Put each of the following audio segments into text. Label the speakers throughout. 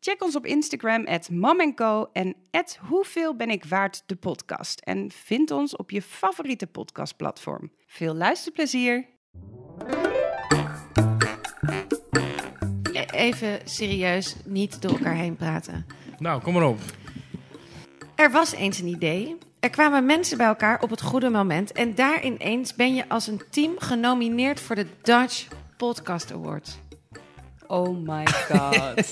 Speaker 1: Check ons op Instagram at mamenco en at hoeveel ben ik waard de podcast. En vind ons op je favoriete podcastplatform. Veel luisterplezier!
Speaker 2: E, Even serieus, niet door elkaar heen praten.
Speaker 3: Nou, kom maar op.
Speaker 2: Er was eens een idee. Er kwamen mensen bij elkaar op het goede moment. En daar ineens ben je als een team genomineerd voor de Dutch Podcast Award.
Speaker 1: Oh my god.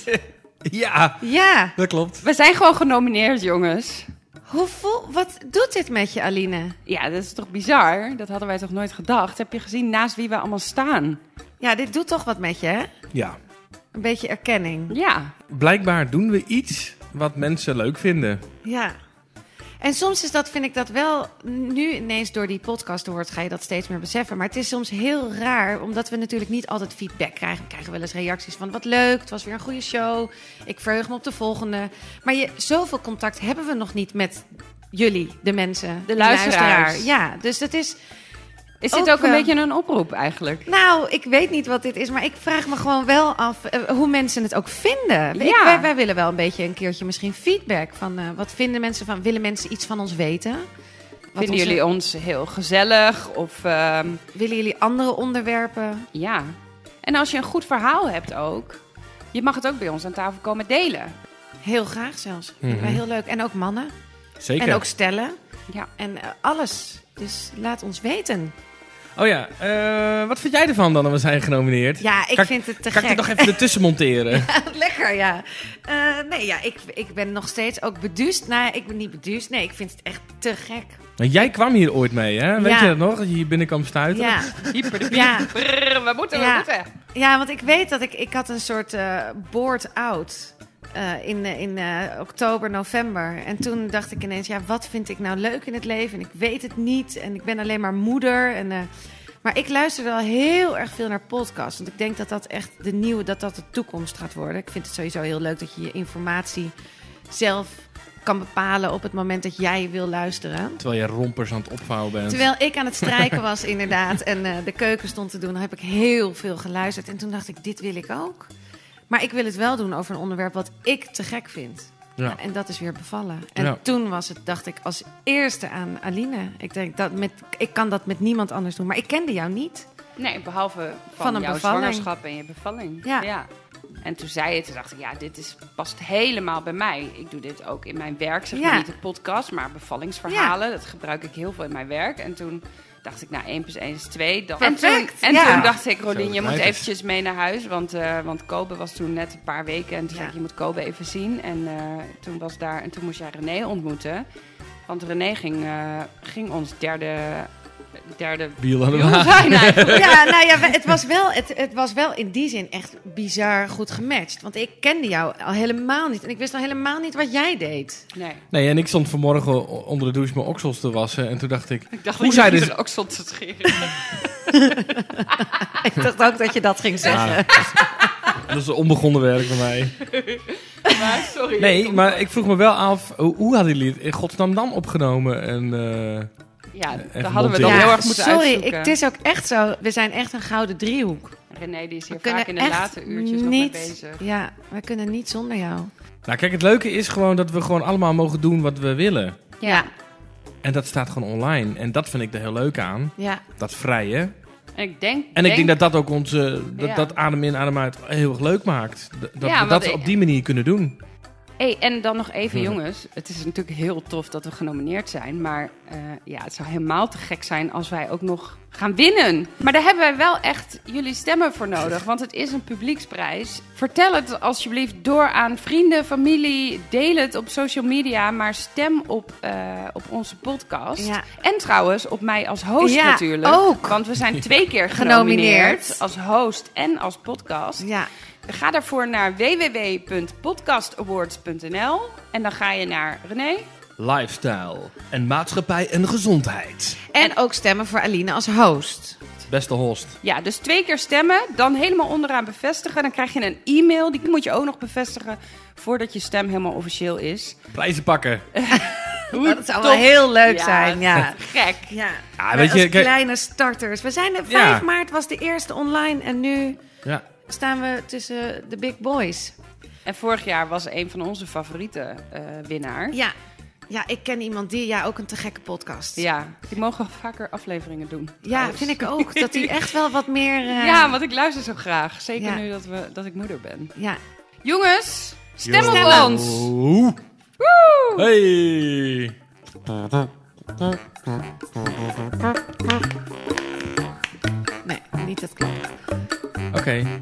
Speaker 3: Ja,
Speaker 2: Ja,
Speaker 3: dat klopt.
Speaker 1: We zijn gewoon genomineerd, jongens.
Speaker 2: hoe voel, wat doet dit met je, Aline?
Speaker 1: Ja, dat is toch bizar? Dat hadden wij toch nooit gedacht? Heb je gezien naast wie we allemaal staan?
Speaker 2: Ja, dit doet toch wat met je, hè?
Speaker 3: Ja.
Speaker 2: Een beetje erkenning.
Speaker 1: Ja.
Speaker 3: Blijkbaar doen we iets wat mensen leuk vinden.
Speaker 2: Ja. En soms is dat, vind ik dat wel, nu ineens door die podcast hoort, ga je dat steeds meer beseffen. Maar het is soms heel raar, omdat we natuurlijk niet altijd feedback krijgen. We krijgen wel eens reacties van, wat leuk, het was weer een goede show. Ik verheug me op de volgende. Maar je, zoveel contact hebben we nog niet met jullie, de mensen.
Speaker 1: De
Speaker 2: de
Speaker 1: luisteraars.
Speaker 2: Ja, dus dat is...
Speaker 1: Is dit ook,
Speaker 2: Ook eh,
Speaker 1: een
Speaker 2: wel.
Speaker 1: beetje een oproep eigenlijk?
Speaker 2: Nou, ik weet niet wat dit is, maar ik vraag me gewoon wel af eh, hoe mensen het ook vinden. Ik-
Speaker 1: Ja.
Speaker 2: wij, wij willen wel een beetje een keertje misschien feedback van eh, wat vinden mensen van, willen mensen iets van ons weten? Wat
Speaker 1: Vinden
Speaker 2: onze-
Speaker 1: jullie ons heel gezellig? Of ehm,
Speaker 2: willen jullie andere onderwerpen?
Speaker 1: Ja. En als je een goed verhaal hebt ook, je mag het ook bij ons aan tafel komen delen.
Speaker 2: Heel graag zelfs. Vinden wij
Speaker 3: Mhm.
Speaker 2: heel leuk. En ook mannen.
Speaker 3: Zeker.
Speaker 2: En ook stellen.
Speaker 1: Ja.
Speaker 2: En eh, alles. Dus laat ons weten.
Speaker 3: Oh ja, eh, wat vind jij ervan dan dat we zijn genomineerd?
Speaker 2: Ja, ik
Speaker 3: Kan ik-
Speaker 2: vind het te
Speaker 3: Kan ik
Speaker 2: gek.
Speaker 3: dit nog even ertussen monteren?
Speaker 2: Lekker, ja. Eh, nee, ja, ik, ik ben nog steeds ook beduust. Nou, ik ben niet beduust. Nee, ik vind het echt te gek.
Speaker 3: Want jij kwam hier ooit mee, hè? Weet
Speaker 2: Ja.
Speaker 3: je dat nog? Dat je hier binnen kwam stuiten?
Speaker 2: Ja.
Speaker 1: Hyper de
Speaker 2: Ja.
Speaker 1: Brrr, we moeten, we
Speaker 2: Ja.
Speaker 1: moeten.
Speaker 2: Ja, want ik weet dat ik, ik had een soort eh board out eh, in, eh, in eh, oktober, november. En toen dacht ik ineens, ja, wat vind ik nou leuk in het leven? En ik weet het niet. En ik ben alleen maar moeder. En, eh, maar ik luisterde al heel erg veel naar podcasts. Want ik denk dat dat echt de nieuwe, dat dat de toekomst gaat worden. Ik vind het sowieso heel leuk dat je je informatie zelf kan bepalen op het moment dat jij wil luisteren.
Speaker 3: Terwijl je rompers aan het opvouwen bent.
Speaker 2: Terwijl ik aan het strijken was, inderdaad, en eh, de keuken stond te doen, heb ik heel veel geluisterd. En toen dacht ik, dit wil ik ook. Maar ik wil het wel doen over een onderwerp wat ik te gek vind.
Speaker 3: Ja.
Speaker 2: En dat is weer bevallen. En
Speaker 3: Ja.
Speaker 2: toen was het, dacht ik, als eerste aan Aline. Ik denk, dat met, ik kan dat met niemand anders doen. Maar ik kende jou niet.
Speaker 1: Nee, behalve van,
Speaker 2: Van een
Speaker 1: jouw
Speaker 2: bevalling.
Speaker 1: zwangerschap en je bevalling.
Speaker 2: Ja.
Speaker 1: En toen zei je, toen dacht ik, ja, dit is, past helemaal bij mij. Ik doe dit ook in mijn werk, zeg
Speaker 2: Ja.
Speaker 1: maar niet de podcast, maar bevallingsverhalen. Dat gebruik ik heel veel in mijn werk. En toen dacht ik, nou, 1 plus 1 is 2. Dat... En, toen,
Speaker 2: Perfect,
Speaker 1: en
Speaker 2: ja.
Speaker 1: toen dacht ik, Rolien,
Speaker 3: dat
Speaker 1: je moet
Speaker 3: blijft het.
Speaker 1: eventjes mee naar huis. Want, eh, want Kobe was toen net een paar weken. En toen
Speaker 2: Ja.
Speaker 1: zei ik, je moet Kobe even zien. En, eh, toen was daar, en toen moest jij René ontmoeten. Want René ging, eh, ging ons derde... Derde
Speaker 3: Biel aan de
Speaker 1: wiel
Speaker 3: wagen.
Speaker 1: zijn eigenlijk.
Speaker 2: Ja, nou ja, het was, wel, het, het was wel in die zin echt bizar goed gematcht. Want ik kende jou al helemaal niet. En ik wist al helemaal niet wat jij deed.
Speaker 1: Nee.
Speaker 3: Nee, en ik stond vanmorgen o- onder de douche mijn oksels te wassen. En toen dacht ik,
Speaker 1: Ik dacht
Speaker 3: Hoe
Speaker 1: dat
Speaker 3: zij
Speaker 1: je
Speaker 3: dus-
Speaker 1: er ook stond te scheren.
Speaker 2: Ik dacht ook dat je dat ging zeggen.
Speaker 3: ah, dat is een onbegonnen werk bij mij.
Speaker 1: Maar sorry.
Speaker 3: Nee, maar ik vroeg me wel af, hoe, hoe hadden jullie het in godsnaam dan opgenomen? En, eh,
Speaker 1: Ja, daar
Speaker 3: Even
Speaker 1: hadden we
Speaker 3: monteren.
Speaker 1: dan
Speaker 3: Ja,
Speaker 1: heel erg moeten
Speaker 2: sorry,
Speaker 1: uitzoeken.
Speaker 2: ik, het is ook echt zo. We zijn echt een gouden driehoek.
Speaker 1: René die is
Speaker 2: We
Speaker 1: hier vaak in de
Speaker 2: echt
Speaker 1: late uurtjes nog mee
Speaker 2: niet,
Speaker 1: bezig.
Speaker 2: Ja, we kunnen niet zonder jou.
Speaker 3: nou kijk, het leuke is gewoon dat we gewoon allemaal mogen doen wat we willen.
Speaker 2: Ja,
Speaker 3: En dat staat gewoon online. En dat vind ik er heel leuk aan.
Speaker 2: ja.
Speaker 3: Dat vrije.
Speaker 1: En ik denk...
Speaker 3: En ik denk dat dat ook ons, eh, dat,
Speaker 1: Ja.
Speaker 3: dat adem in, adem uit heel erg leuk maakt. D- Dat
Speaker 1: Ja,
Speaker 3: we
Speaker 1: want
Speaker 3: dat
Speaker 1: ik-
Speaker 3: op die manier kunnen doen.
Speaker 1: Hey, en dan nog even,
Speaker 3: Hm.
Speaker 1: jongens. Het is natuurlijk heel tof dat we genomineerd zijn. Maar eh, ja, het zou helemaal te gek zijn als wij ook nog gaan winnen. Maar daar hebben wij wel echt jullie stemmen voor nodig. Want het is een publieksprijs. Vertel het alsjeblieft door aan vrienden, familie. Deel het op social media. Maar stem op, eh, op onze podcast.
Speaker 2: Ja.
Speaker 1: En trouwens op mij als host
Speaker 2: Ja,
Speaker 1: natuurlijk.
Speaker 2: ook.
Speaker 1: Want we zijn twee keer genomineerd.
Speaker 2: Genomineerd.
Speaker 1: Als host en als podcast.
Speaker 2: ja.
Speaker 1: Ga daarvoor naar www.podcastawards.nl en dan ga je naar René,
Speaker 3: lifestyle en maatschappij en gezondheid.
Speaker 2: En ook stemmen voor Aline als host.
Speaker 3: Beste host.
Speaker 1: Ja, dus twee keer stemmen, dan helemaal onderaan bevestigen. Dan krijg je een e-mail, die moet je ook nog bevestigen voordat je stem helemaal officieel is.
Speaker 3: Prijzen pakken.
Speaker 2: Dat zou wel heel leuk zijn, ja.
Speaker 1: Gek.
Speaker 2: Ja,
Speaker 3: Ja,
Speaker 1: Ah,
Speaker 2: Maar
Speaker 3: weet je,
Speaker 2: als
Speaker 3: kijk-
Speaker 2: kleine starters. We zijn er, 5
Speaker 3: Ja.
Speaker 2: maart was de eerste online en nu
Speaker 3: Ja.
Speaker 2: staan we tussen de big boys.
Speaker 1: En vorig jaar was een van onze favoriete eh, winnaar.
Speaker 2: Ja, ja ik ken iemand die, ja, ook een te gekke podcast.
Speaker 1: Ja, die mogen vaker afleveringen doen.
Speaker 2: Ja, vind ik ook. Dat die echt wel wat meer... eh,
Speaker 1: Ja, want ik luister zo graag. Zeker
Speaker 2: Ja.
Speaker 1: nu dat, we, dat ik moeder ben.
Speaker 2: ja.
Speaker 1: Jongens, stem op
Speaker 2: Stemmen.
Speaker 1: ons!
Speaker 3: Oeh.
Speaker 1: Woe!
Speaker 3: Hey.
Speaker 2: Nee, niet dat klopt.
Speaker 3: Oké.